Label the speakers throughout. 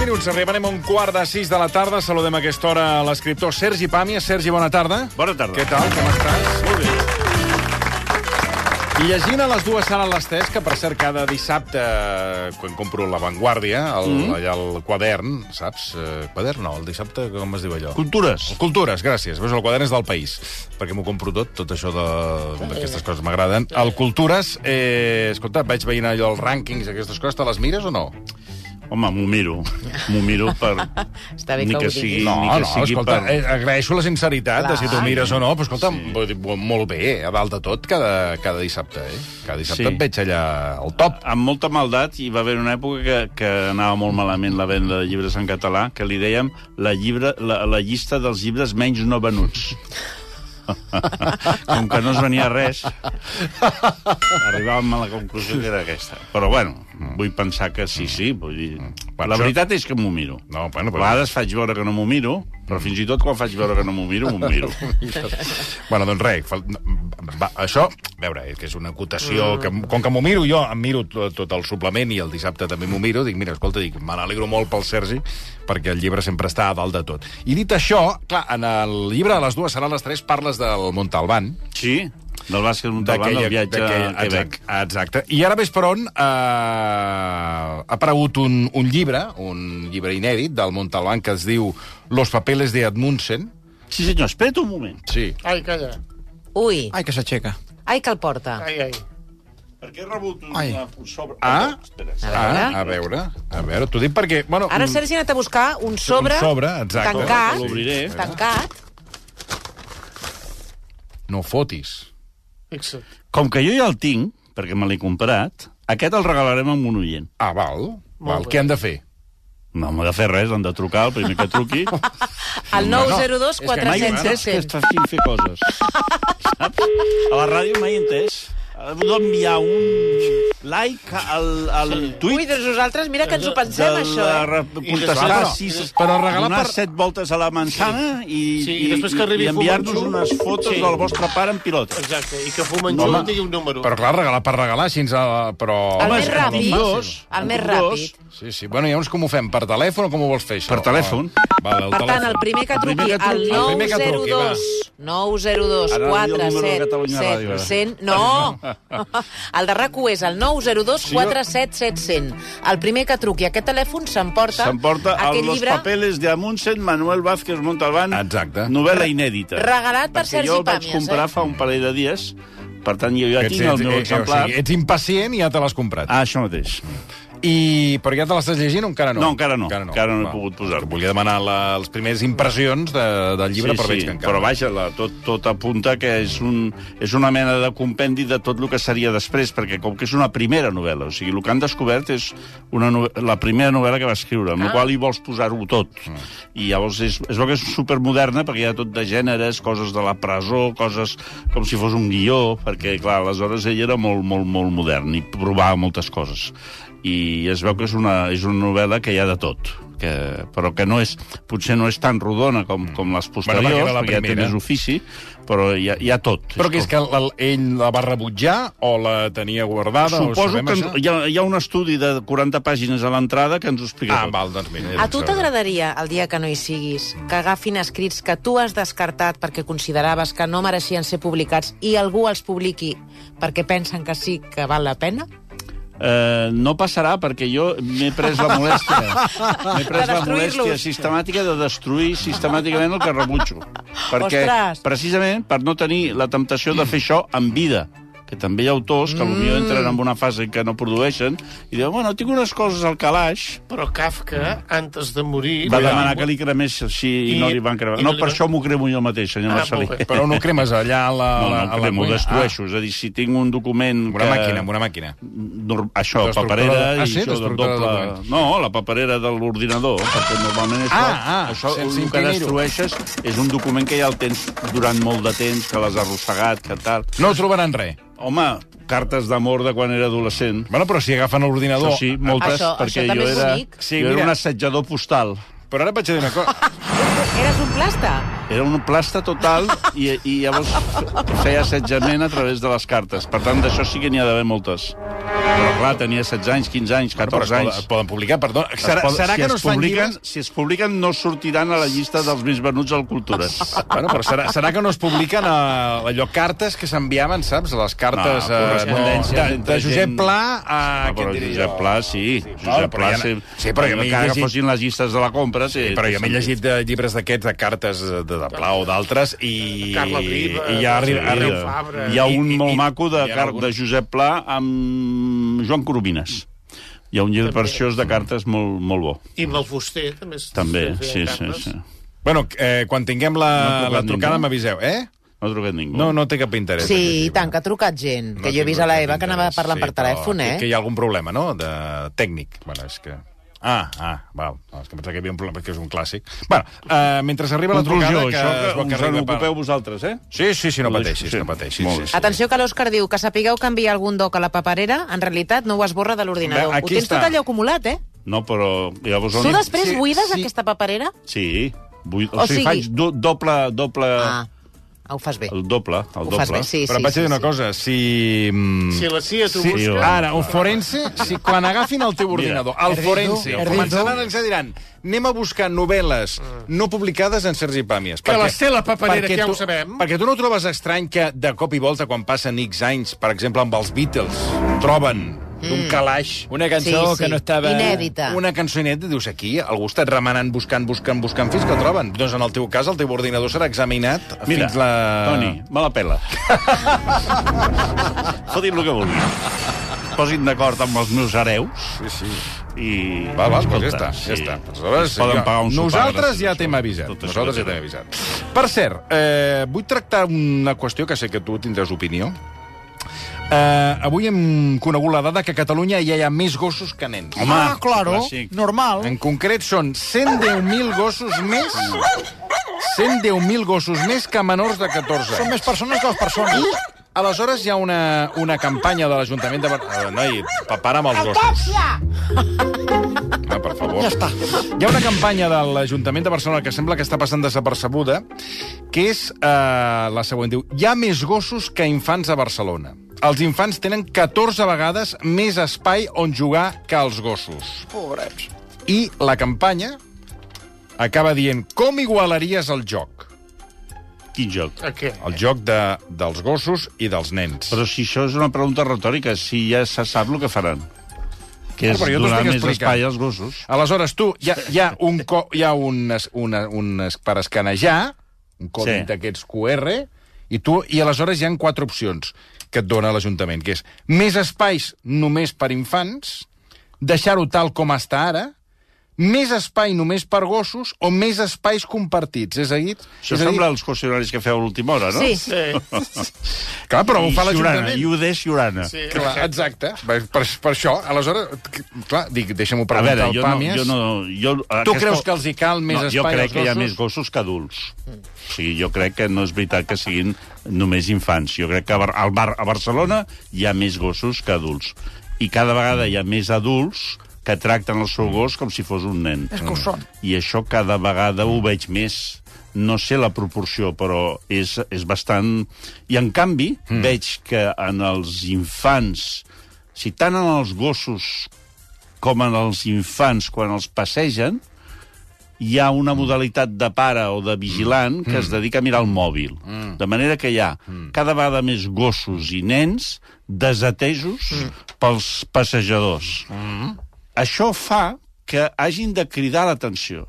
Speaker 1: minuts arribarem a un quart de sis de la tarda. Saludem a aquesta hora l'escriptor Sergi Pàmies. Sergi, bona tarda.
Speaker 2: Bona tarda.
Speaker 1: Què tal? Com estàs?
Speaker 2: Molt bé.
Speaker 1: I llegint a les dues sales les tres, que per cert cada dissabte, eh, quan compro La Vanguardia, el, mm. allà el quadern, saps? Eh, quadern no, el dissabte, com es diu allò?
Speaker 2: Cultures.
Speaker 1: Cultures, gràcies. Veus, el quadern és del país, perquè m'ho compro tot, tot això de- d'aquestes coses m'agraden. El Cultures, eh, escolta, vaig veient allò, els rànquings, aquestes coses, te les mires o no?
Speaker 2: Home, m'ho miro. M'ho miro per...
Speaker 3: Està bé
Speaker 2: Ni
Speaker 3: que
Speaker 2: que
Speaker 3: ho
Speaker 2: sigui-
Speaker 3: diguis.
Speaker 2: No.
Speaker 1: Ah, No,
Speaker 2: que
Speaker 1: no,
Speaker 2: sigui
Speaker 1: escolta,
Speaker 2: per-
Speaker 1: per... agraeixo la sinceritat de
Speaker 3: Clar.
Speaker 1: si tu mires o no, però escolta, sí. molt bé, eh, a dalt de tot, cada, cada dissabte, eh? Cada dissabte
Speaker 2: Sí.
Speaker 1: sí. et veig allà al top.
Speaker 2: Amb molta maldat, hi va haver una època que, que anava molt malament la venda de llibres en català, que li dèiem la, llibre, la, la llista dels llibres menys no venuts. Com que no es venia res, arribàvem a la conclusió que era aquesta. Però, bueno, vull pensar que sí, sí. Vull dir...
Speaker 1: Bueno,
Speaker 2: la
Speaker 1: Mm. això-
Speaker 2: veritat és que m'ho miro.
Speaker 1: No, Mm. bueno,
Speaker 2: A
Speaker 1: però-
Speaker 2: vegades faig veure que no m'ho miro, però fins i tot quan faig veure que no m'ho miro, m'ho miro.
Speaker 1: Bueno, doncs res, fal- va, això, a veure, eh, que és una acotació, que, com que m'ho miro jo, em miro tot, tot el suplement i el dissabte també m'ho miro, dic, mira, escolta, dic, me n'alegro molt pel Sergi, perquè el llibre sempre està a dalt de tot. I dit això, clar, en el llibre de les dues seran les tres parles del Montalbán,
Speaker 2: Sí, del bàsquet Montalbán, del viatge a
Speaker 1: d'aquella-
Speaker 2: Quebec.
Speaker 1: Exacte. I ara ves per on eh, ha aparegut un, un llibre, un llibre inèdit del Montalbán que es diu Los papeles de Edmundsen.
Speaker 2: Sí, senyor, espera't un moment.
Speaker 1: Sí.
Speaker 4: Ai, calla.
Speaker 3: Ui,
Speaker 5: Ai, que s'aixeca.
Speaker 3: ai que el porta.
Speaker 4: Ai, ai.
Speaker 2: Perquè he rebut una
Speaker 5: Ai.
Speaker 2: sobre...
Speaker 1: Ah?
Speaker 2: Espera,
Speaker 1: Ah, a veure, a veure, t'ho dic perquè... Bueno,
Speaker 3: Ara
Speaker 1: mm,
Speaker 3: Sergi ha anat a buscar un sobre,
Speaker 1: Un sobre, exacte.
Speaker 3: tancat,
Speaker 2: L'obriré.
Speaker 3: tancat.
Speaker 1: No fotis.
Speaker 4: Fixa't.
Speaker 2: Com que jo ja el tinc, perquè me l'he comprat, aquest el regalarem a un oient.
Speaker 1: Ah, val. val.
Speaker 4: bé.
Speaker 1: Què han de fer?
Speaker 2: No m'ha de fer res, han de trucar el primer que truqui.
Speaker 3: El
Speaker 1: No, no, és
Speaker 3: 902
Speaker 1: que
Speaker 2: Mai he
Speaker 3: 400
Speaker 2: entès que
Speaker 3: 700.
Speaker 2: es facin fer coses. Saps? A la ràdio mai he entès. Heu d'enviar un like al, al tuit
Speaker 3: Ui, doncs nosaltres, mira que ens ho pensem, això. eh?
Speaker 2: la re- contestar
Speaker 1: Clar,
Speaker 2: a
Speaker 1: però-
Speaker 2: sis,
Speaker 1: però regalar
Speaker 2: donar
Speaker 1: per-
Speaker 2: set voltes a la manzana sí. i,
Speaker 4: Sí, i després que arribi
Speaker 2: i enviar-nos
Speaker 4: Fumanchu.
Speaker 2: unes fotos
Speaker 4: Sí.
Speaker 2: sí. del vostre pare en pilota.
Speaker 4: Exacte. I que fumen junts i digui un número.
Speaker 1: Però clar, regalar per regalar, així ens... eh, Però...
Speaker 3: El
Speaker 2: Home,
Speaker 3: més
Speaker 2: és que
Speaker 3: ràpid.
Speaker 2: tinc dos,
Speaker 3: El més
Speaker 2: tinc dos.
Speaker 3: ràpid.
Speaker 1: Sí, sí. Bueno, llavors com ho fem? Per telèfon o com ho vols fer, això?
Speaker 2: Per telèfon.
Speaker 1: Vale, el
Speaker 3: Per tant, el primer que
Speaker 2: El primer
Speaker 3: truqui
Speaker 2: que
Speaker 3: al
Speaker 2: truqui.
Speaker 1: El primer que truqui, va.
Speaker 3: 902 902
Speaker 2: Ara li diu el número de Catalunya Ràdio, eh?
Speaker 3: 47
Speaker 2: ara.
Speaker 3: 700... No! El de rac és el 902 47 700. El primer que truqui a aquest telèfon s'emporta
Speaker 2: S'emporta a
Speaker 3: aquest
Speaker 2: Los
Speaker 3: llibre
Speaker 2: Papeles de Amundsen, Manuel Vázquez Montalbán.
Speaker 1: Exacte.
Speaker 2: Novel·la inèdita.
Speaker 3: regalat per
Speaker 2: Perquè
Speaker 3: Sergi
Speaker 2: jo el vaig
Speaker 3: Pàmies,
Speaker 2: comprar
Speaker 3: eh?
Speaker 2: fa un parell de dies, per tant, jo ja tinc el meu
Speaker 1: eh,
Speaker 2: exemplar.
Speaker 1: O sigui, ets impacient i ja te l'has comprat.
Speaker 2: Ah, això mateix.
Speaker 1: I, però ja te l'estàs llegint o encara no?
Speaker 2: No, encara no. Encara no he
Speaker 1: Va.
Speaker 2: pogut posar-lo.
Speaker 1: Volia demanar la, les primeres impressions de, del llibre,
Speaker 2: sí,
Speaker 1: però veig
Speaker 2: sí,
Speaker 1: que encara
Speaker 2: però
Speaker 1: no.
Speaker 2: vaja, la, tot, tot apunta que és, un, és una mena de compendi de tot el que seria després, perquè com que és una primera novel·la, o sigui, el que han descobert és una no- la primera novel·la que va escriure, amb ah. la qual hi vols posar-ho tot.
Speaker 1: Ah.
Speaker 2: Mm. I llavors és, es veu que és supermoderna, perquè hi ha tot de gèneres, coses de la presó, coses com si fos un guió, perquè, clar, aleshores ell era molt, molt, molt modern i provava moltes coses. I es veu que és una, és una novel·la que hi ha de tot que, però que no és, potser no és tan rodona
Speaker 1: Mm.
Speaker 2: com, com les
Speaker 1: perquè
Speaker 2: posteriors,
Speaker 1: era la
Speaker 2: bueno, perquè ja té
Speaker 1: primera.
Speaker 2: més ofici, però hi ha, hi ha tot.
Speaker 1: Però que és
Speaker 2: com-
Speaker 1: que el, ell la va rebutjar o la tenia guardada? o
Speaker 2: Suposo
Speaker 1: sabem
Speaker 2: que
Speaker 1: això?
Speaker 2: hi ha, hi ha un estudi de 40 pàgines a l'entrada que ens ho explica
Speaker 1: Ah,
Speaker 2: tot.
Speaker 1: val, doncs mira. ja
Speaker 3: A
Speaker 1: ho
Speaker 3: tu
Speaker 1: sabem.
Speaker 3: t'agradaria, el dia que no hi siguis, que agafin escrits que tu has descartat perquè consideraves que no mereixien ser publicats i algú els publiqui perquè pensen que sí que val la pena?
Speaker 2: Eh, no passarà perquè jo m'he pres la molèstia. M'he pres
Speaker 3: De
Speaker 2: la molèstia
Speaker 3: destruir-los.
Speaker 2: sistemàtica de destruir sistemàticament el que rebutjo. Perquè,
Speaker 3: Ostres.
Speaker 2: precisament, per no tenir la temptació de fer això en vida, que també hi ha autors que potser entren
Speaker 3: Mm.
Speaker 2: en una fase en què no produeixen i diuen, bueno, tinc unes coses al calaix,
Speaker 4: Però Kafka, antes de morir...
Speaker 2: va demanar que li cremés així i,
Speaker 4: I-
Speaker 2: no li van
Speaker 4: i
Speaker 2: cremar.
Speaker 4: no
Speaker 2: No,
Speaker 4: li
Speaker 2: per
Speaker 4: van-
Speaker 2: això m'ho cremo jo mateix, senyor
Speaker 4: Ah,
Speaker 2: Marcelí.
Speaker 4: molt bé.
Speaker 1: Però no ho cremes allà a la,
Speaker 2: No,
Speaker 1: a la,
Speaker 2: no,
Speaker 1: a
Speaker 2: el
Speaker 1: la
Speaker 2: cremo, ho
Speaker 1: cuina.
Speaker 2: destrueixo. És a dir, si tinc un document
Speaker 1: Ah, amb una
Speaker 2: que...
Speaker 1: màquina, amb una màquina.
Speaker 2: Nor- això,
Speaker 1: Destructora
Speaker 2: paperera
Speaker 1: de- Ah,
Speaker 2: i
Speaker 1: sí?
Speaker 2: això del
Speaker 1: Destructora de
Speaker 2: doble...
Speaker 1: documents.
Speaker 2: No, la paperera de l'ordinador, perquè normalment això,
Speaker 1: Ah, ah,
Speaker 2: això
Speaker 1: sense
Speaker 2: el que
Speaker 1: imprimir-ho.
Speaker 2: destrueixes és un document que ja el tens durant molt de temps, que l'has arrossegat, que tal...
Speaker 1: No trobaran res.
Speaker 2: Home, cartes d'amor de quan era adolescent.
Speaker 1: Bueno, però si agafen l'ordinador...
Speaker 2: Això sí, moltes,
Speaker 3: Això-
Speaker 2: perquè
Speaker 3: això també
Speaker 2: jo
Speaker 3: és
Speaker 2: era,
Speaker 3: bonic.
Speaker 2: sí, jo era
Speaker 1: mira.
Speaker 2: un assetjador postal.
Speaker 1: Però ara et vaig a dir una cosa.
Speaker 3: Eres un plasta?
Speaker 2: Era un plasta total i, i llavors feia assetjament a través de les cartes. Per tant, d'això sí que n'hi ha d'haver moltes. Però clar, tenia 16 anys, 15 anys,
Speaker 1: Però es
Speaker 2: 14
Speaker 1: poden,
Speaker 2: anys...
Speaker 1: es poden publicar, perdó. Serà,
Speaker 2: Es pot-
Speaker 1: serà
Speaker 2: si
Speaker 1: que
Speaker 2: es
Speaker 1: no es fan
Speaker 2: publiquen,
Speaker 1: llibres?
Speaker 2: Si es publiquen, no sortiran a la llista dels més venuts al Ah, Cultures.
Speaker 1: Bueno, però serà, serà que no es publiquen eh, allò, cartes que s'enviaven, saps? Les cartes
Speaker 2: No,
Speaker 1: eh,
Speaker 2: correspondències
Speaker 1: de, de
Speaker 2: entre
Speaker 1: Josep
Speaker 2: gent-
Speaker 1: Pla a...
Speaker 2: Ah,
Speaker 1: què
Speaker 2: però
Speaker 1: et diré
Speaker 2: Josep
Speaker 1: jo?
Speaker 2: Pla, sí.
Speaker 1: Sí,
Speaker 2: Josep
Speaker 1: però
Speaker 2: Pla,
Speaker 1: ja-
Speaker 2: sí.
Speaker 1: sí, però jo m'he
Speaker 2: encara
Speaker 1: llegit-
Speaker 2: que fossin les llistes de la compra... Sí,
Speaker 1: Sí, però jo m'he
Speaker 2: sí.
Speaker 1: llegit de llibres d'aquests, de cartes de, de Pla o d'altres, i...
Speaker 4: Carla Riba,
Speaker 1: I ja
Speaker 4: Rosa
Speaker 1: arriba...
Speaker 4: Maria
Speaker 1: arriba
Speaker 4: Fabra.
Speaker 2: Hi ha un
Speaker 1: I- i-
Speaker 2: molt
Speaker 1: i-
Speaker 2: maco de,
Speaker 1: hi ha
Speaker 2: car
Speaker 1: algun-
Speaker 2: de Josep Pla amb Joan Coromines. Hi ha un llibre preciós de cartes molt, molt bo.
Speaker 4: I amb el fuster, també. es-
Speaker 2: També,
Speaker 4: es
Speaker 2: sí,
Speaker 4: feien
Speaker 2: sí,
Speaker 4: cartes.
Speaker 2: sí.
Speaker 1: Bueno, eh, quan tinguem la,
Speaker 2: No ha trucat
Speaker 1: la trucada
Speaker 2: ningú.
Speaker 1: m'aviseu, eh?
Speaker 2: No ha trucat ningú.
Speaker 1: No, no té cap interès.
Speaker 3: Sí,
Speaker 1: aquest
Speaker 3: i
Speaker 1: llibre.
Speaker 3: tant, que ha trucat gent.
Speaker 1: No
Speaker 3: que jo he
Speaker 1: té
Speaker 3: vist a la
Speaker 1: cap
Speaker 3: Eva que anava
Speaker 1: interès,
Speaker 3: parlant per
Speaker 1: però
Speaker 3: telèfon,
Speaker 1: que-
Speaker 3: eh?
Speaker 1: Que hi ha algun problema, no?, de tècnic. Bueno, és que... Ah, ah, val. No, és que pensava que hi havia un problema, perquè és un clàssic. Bueno, uh, mentre arriba la trucada...
Speaker 2: Conclusió,
Speaker 1: es
Speaker 2: això que,
Speaker 1: veu
Speaker 2: que us
Speaker 1: arriba
Speaker 2: en
Speaker 1: per-
Speaker 2: ocupeu vosaltres, eh?
Speaker 1: Sí, sí, sí, no
Speaker 2: Ho
Speaker 1: pateixis,
Speaker 2: deixo,
Speaker 1: no
Speaker 2: sí.
Speaker 1: pateixis.
Speaker 2: Molt
Speaker 1: Sí,
Speaker 2: bé.
Speaker 1: sí.
Speaker 3: Atenció que l'Òscar diu que sapigueu que enviar algun doc a la paperera, en realitat no ho esborra de l'ordinador.
Speaker 2: Ve,
Speaker 3: Ho
Speaker 2: aquí
Speaker 3: tens
Speaker 2: està.
Speaker 3: tot allò acumulat, eh?
Speaker 2: No, però llavors...
Speaker 3: Tu després
Speaker 2: sí,
Speaker 3: buides
Speaker 2: sí,
Speaker 3: aquesta paperera?
Speaker 2: Sí, vull, o,
Speaker 3: O
Speaker 2: o sigui,
Speaker 3: sigui-
Speaker 2: faig do, doble, doble...
Speaker 3: Ah, ho fas bé.
Speaker 2: El doble, el
Speaker 3: Ho
Speaker 2: doble.
Speaker 3: fas bé, sí,
Speaker 1: Però
Speaker 3: sí.
Speaker 1: et vaig
Speaker 3: sí,
Speaker 1: a dir una
Speaker 3: sí.
Speaker 1: cosa, si... mm,
Speaker 4: Si la CIA t'ho
Speaker 1: Sí,
Speaker 2: jo.
Speaker 4: busca...
Speaker 1: ara, un forense, si quan agafin el teu ordinador, el
Speaker 5: Ernesto,
Speaker 1: forense, el
Speaker 5: Ernesto.
Speaker 1: començaran a analitzar, diran anem a buscar novel·les no publicades en Sergi Pàmies.
Speaker 4: Que
Speaker 1: perquè-
Speaker 4: les té la paperera,
Speaker 1: perquè
Speaker 4: que ja
Speaker 1: tu-
Speaker 4: ho sabem.
Speaker 1: Perquè tu no trobes estrany que de cop i volta, quan passen X anys, per exemple, amb els Beatles, troben
Speaker 4: Mm.
Speaker 1: d'un calaix
Speaker 5: Una cançó
Speaker 3: Sí, sí.
Speaker 5: que no estava...
Speaker 3: Inèdita.
Speaker 1: una cançó inèdita, dius, aquí, algú està remenant, buscant, buscant, buscant, fins que troben. Doncs en el teu cas, el teu ordinador serà examinat
Speaker 2: Mira,
Speaker 1: fins la...
Speaker 2: Toni, me la pela. Fotin el que vulguin. Posin d'acord amb els meus hereus
Speaker 1: Sí, sí.
Speaker 2: i...
Speaker 1: Va, va, doncs ja
Speaker 2: Escolta,
Speaker 1: està, ja
Speaker 2: sí.
Speaker 1: està. Aleshores,
Speaker 2: Es poden pagar un sopar.
Speaker 1: nosaltres
Speaker 2: gràcies,
Speaker 1: ja t'hem
Speaker 2: això.
Speaker 1: avisat.
Speaker 2: Tot això
Speaker 1: Nosaltres
Speaker 2: que
Speaker 1: ja t'hem
Speaker 2: tenen.
Speaker 1: avisat. Per cert, eh, vull tractar una qüestió que sé que tu tindràs opinió. Eh, avui hem conegut la dada que a Catalunya ja hi ha més gossos que nens.
Speaker 2: Home,
Speaker 5: ah, claro,
Speaker 2: clàssic.
Speaker 5: normal.
Speaker 1: En concret, són 110.000 gossos més... 110.000 gossos més que menors de 14
Speaker 5: Són
Speaker 1: anys.
Speaker 5: més persones que les persones.
Speaker 1: Aleshores hi ha una, una campanya de l'Ajuntament de Barcelona... Noi, pa- para amb els gossos. Ah, per favor.
Speaker 5: Ja està.
Speaker 1: Hi ha una campanya de l'Ajuntament de Barcelona que sembla que està passant desapercebuda, que és eh, la següent. Diu, hi ha més gossos que infants a Barcelona. Els infants tenen 14 vegades més espai on jugar que els gossos.
Speaker 5: Pobrets.
Speaker 1: I la campanya acaba dient com igualaries el joc.
Speaker 2: Quin joc?
Speaker 4: A què?
Speaker 1: El joc de, dels gossos i dels nens.
Speaker 2: Però si això és una pregunta retòrica, si ja se sap el que faran. Que és
Speaker 1: Ah, Però jo t'ho
Speaker 2: donar
Speaker 1: estic
Speaker 2: més
Speaker 1: explicant.
Speaker 2: espai als gossos.
Speaker 1: Aleshores, tu, hi ha, hi ha un, co, hi ha un, es- una, un es- per escanejar, un codi
Speaker 2: Sí.
Speaker 1: sí. d'aquests QR, i tu i aleshores hi han quatre opcions que et dona l'Ajuntament, que és més espais només per infants, deixar-ho tal com està ara, més espai només per gossos o més espais compartits. És a dir... és
Speaker 2: Això
Speaker 1: a dir-
Speaker 2: sembla els qüestionaris que feu a l'última hora, no?
Speaker 3: Sí,
Speaker 4: Eh, Sí,
Speaker 1: Clar, però ho
Speaker 2: I
Speaker 1: fa
Speaker 2: Siurana,
Speaker 1: l'Ajuntament.
Speaker 2: i ho des Siurana.
Speaker 4: sí.
Speaker 1: Clar, exacte. Per, per, per això, aleshores, clar, dic, deixa'm-ho
Speaker 2: A
Speaker 1: preguntar
Speaker 2: veure,
Speaker 1: al
Speaker 2: jo no,
Speaker 1: Pàmies.
Speaker 2: jo no... Jo,
Speaker 1: Tu creus que els hi cal més
Speaker 2: no,
Speaker 1: espai
Speaker 2: jo crec
Speaker 1: als
Speaker 2: que hi ha
Speaker 1: gossos?
Speaker 2: més gossos que adults. O sigui, jo crec que no és veritat que siguin només infants. Jo crec que a Bar- al bar, a Barcelona hi ha més gossos que adults. I cada vegada hi ha més adults que tracten el seu gos com si fos un nen.
Speaker 5: És que ho són.
Speaker 2: I això cada vegada ho veig més. No sé la proporció, però és, és bastant... I, en canvi, mm. veig que en els infants, si tant en els gossos com en els infants quan els passegen, hi ha una modalitat de pare o de vigilant que es dedica a mirar el mòbil. De manera que hi ha cada vegada més gossos i nens desatesos pels passejadors. Això fa que hagin de cridar l'atenció.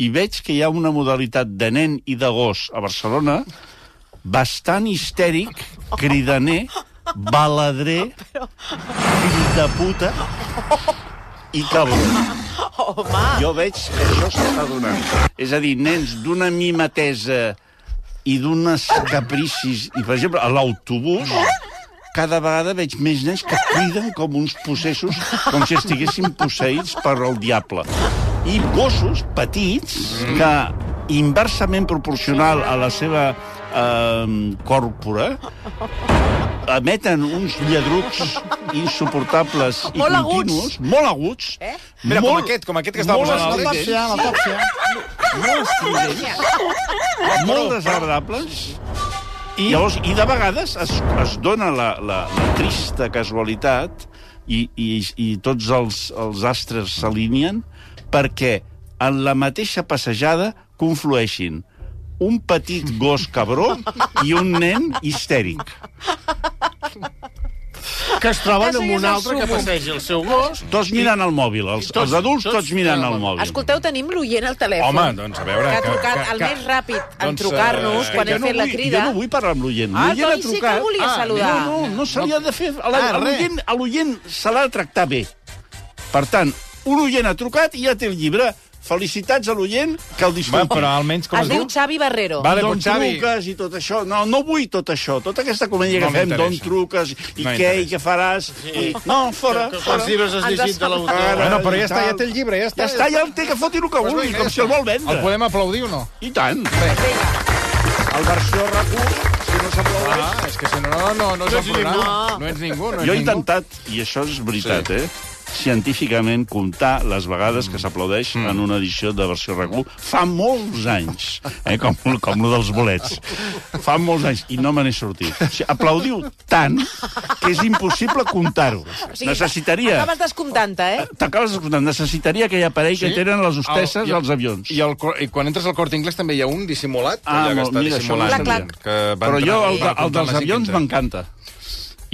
Speaker 2: I veig que hi ha una modalitat de nen i de gos a Barcelona bastant histèric, cridaner, baladrer, fill de puta i cabró. Jo veig que això s'està donant. És a dir, nens d'una mimetesa i d'unes capricis... I, per exemple, a l'autobús, cada vegada veig més nens que criden com uns possessos, com si estiguessin posseïts per el diable. I gossos petits que, inversament proporcional a la seva eh, còrpora, ehm, emeten uns lladrucs insuportables i
Speaker 3: Molt aguts.
Speaker 2: continus, molt aguts, eh?
Speaker 1: Mira, com aquest, com aquest que estava
Speaker 2: molt
Speaker 1: posant el
Speaker 2: estridents,
Speaker 5: L'autòpsia, l'autòpsia.
Speaker 2: molt estridents, molt desagradables, i, llavors, i de vegades es, es dona la, la, la trista casualitat i, i, i tots els, els astres s'alineen perquè en la mateixa passejada conflueixin un petit gos cabró i un nen histèric.
Speaker 4: Que es troben
Speaker 3: Això
Speaker 4: amb
Speaker 3: ja és
Speaker 4: un
Speaker 3: el
Speaker 4: altre que
Speaker 3: súmmum.
Speaker 4: passeja el seu gos.
Speaker 2: Tots mirant al mòbil, els,
Speaker 4: Tots-
Speaker 2: els adults
Speaker 4: tots
Speaker 2: tots mirant al mòbil.
Speaker 3: Escolteu, tenim l'oient al telèfon.
Speaker 1: Home, doncs, a veure,
Speaker 3: Que ha
Speaker 1: que-
Speaker 3: trucat
Speaker 1: que-
Speaker 3: el
Speaker 1: que-
Speaker 3: més ràpid en
Speaker 1: doncs,
Speaker 3: trucar-nos
Speaker 1: eh,
Speaker 3: quan
Speaker 1: que
Speaker 3: hem fet la
Speaker 2: vull,
Speaker 3: crida.
Speaker 2: Jo no vull parlar amb l'oient.
Speaker 3: Ah,
Speaker 2: L'oient ha
Speaker 3: Toni, sí que
Speaker 2: trucat.
Speaker 3: volia
Speaker 2: ah,
Speaker 3: saludar.
Speaker 2: No, no, no se li ha de fer... A la-
Speaker 5: Ah,
Speaker 2: a l'oient- A l'oient se l'ha de tractar bé. Per tant, un oient ha trucat i ja té el llibre. Felicitats a l'oient, que el
Speaker 1: Va,
Speaker 2: disfruti.
Speaker 1: però almenys com
Speaker 3: Es
Speaker 1: es
Speaker 3: diu
Speaker 1: diu...
Speaker 3: Xavi Barrero.
Speaker 1: Vale,
Speaker 2: d'on
Speaker 1: doncs, Xavi.
Speaker 2: truques i tot això. No, no vull tot això. Tota aquesta comèdia
Speaker 1: No
Speaker 2: que fem, d'on
Speaker 1: m'interessa.
Speaker 2: truques i
Speaker 1: No
Speaker 2: què i
Speaker 1: m'interessa.
Speaker 2: què faràs. I... No, fora,
Speaker 4: Que
Speaker 2: fora.
Speaker 4: quants llibres has
Speaker 3: Ens
Speaker 4: llegit de l'autor?
Speaker 1: Bueno, però ja està, ja té el llibre, ja
Speaker 2: Ja
Speaker 1: està.
Speaker 2: està, ja el té que foti el que
Speaker 5: Pues
Speaker 2: vulgui,
Speaker 5: vinga,
Speaker 2: com
Speaker 5: ja
Speaker 2: si el
Speaker 5: està.
Speaker 2: vol
Speaker 1: El
Speaker 2: vendre.
Speaker 1: podem aplaudir o no?
Speaker 2: I tant. El versió RAC1, si no s'aplaudeix...
Speaker 1: Ah, és que si no, no, no, no és el
Speaker 4: ets
Speaker 1: programa. No ets ningú, no ets
Speaker 2: Jo he
Speaker 1: ningú.
Speaker 2: intentat, i això és veritat, sí. eh? científicament comptar les vegades que s'aplaudeix mm. en una edició de versió RAC1 fa molts anys, eh? com, com lo dels bolets. Fa molts anys, i no me n'he sortit. O sigui, aplaudiu tant que és impossible comptar-ho.
Speaker 3: O sigui,
Speaker 2: Necessitaria...
Speaker 3: Acabes descomptant-te, eh?
Speaker 2: T'acabes d'escoltar, necessitaria aquell aparell sí? que tenen les hostesses
Speaker 1: El- i-
Speaker 2: el, als avions.
Speaker 1: I, el, cor- I quan entres al Corte Inglés també hi ha un dissimulat.
Speaker 2: Ah,
Speaker 1: allà que
Speaker 2: molt-
Speaker 1: està
Speaker 2: mira, això
Speaker 1: dissimulat.
Speaker 3: no ho sabia.
Speaker 1: Que va
Speaker 2: Però
Speaker 1: entrar-
Speaker 2: jo, el,
Speaker 1: va
Speaker 2: de, el
Speaker 1: comptar
Speaker 2: dels
Speaker 1: les
Speaker 2: avions
Speaker 1: 15.
Speaker 2: m'encanta.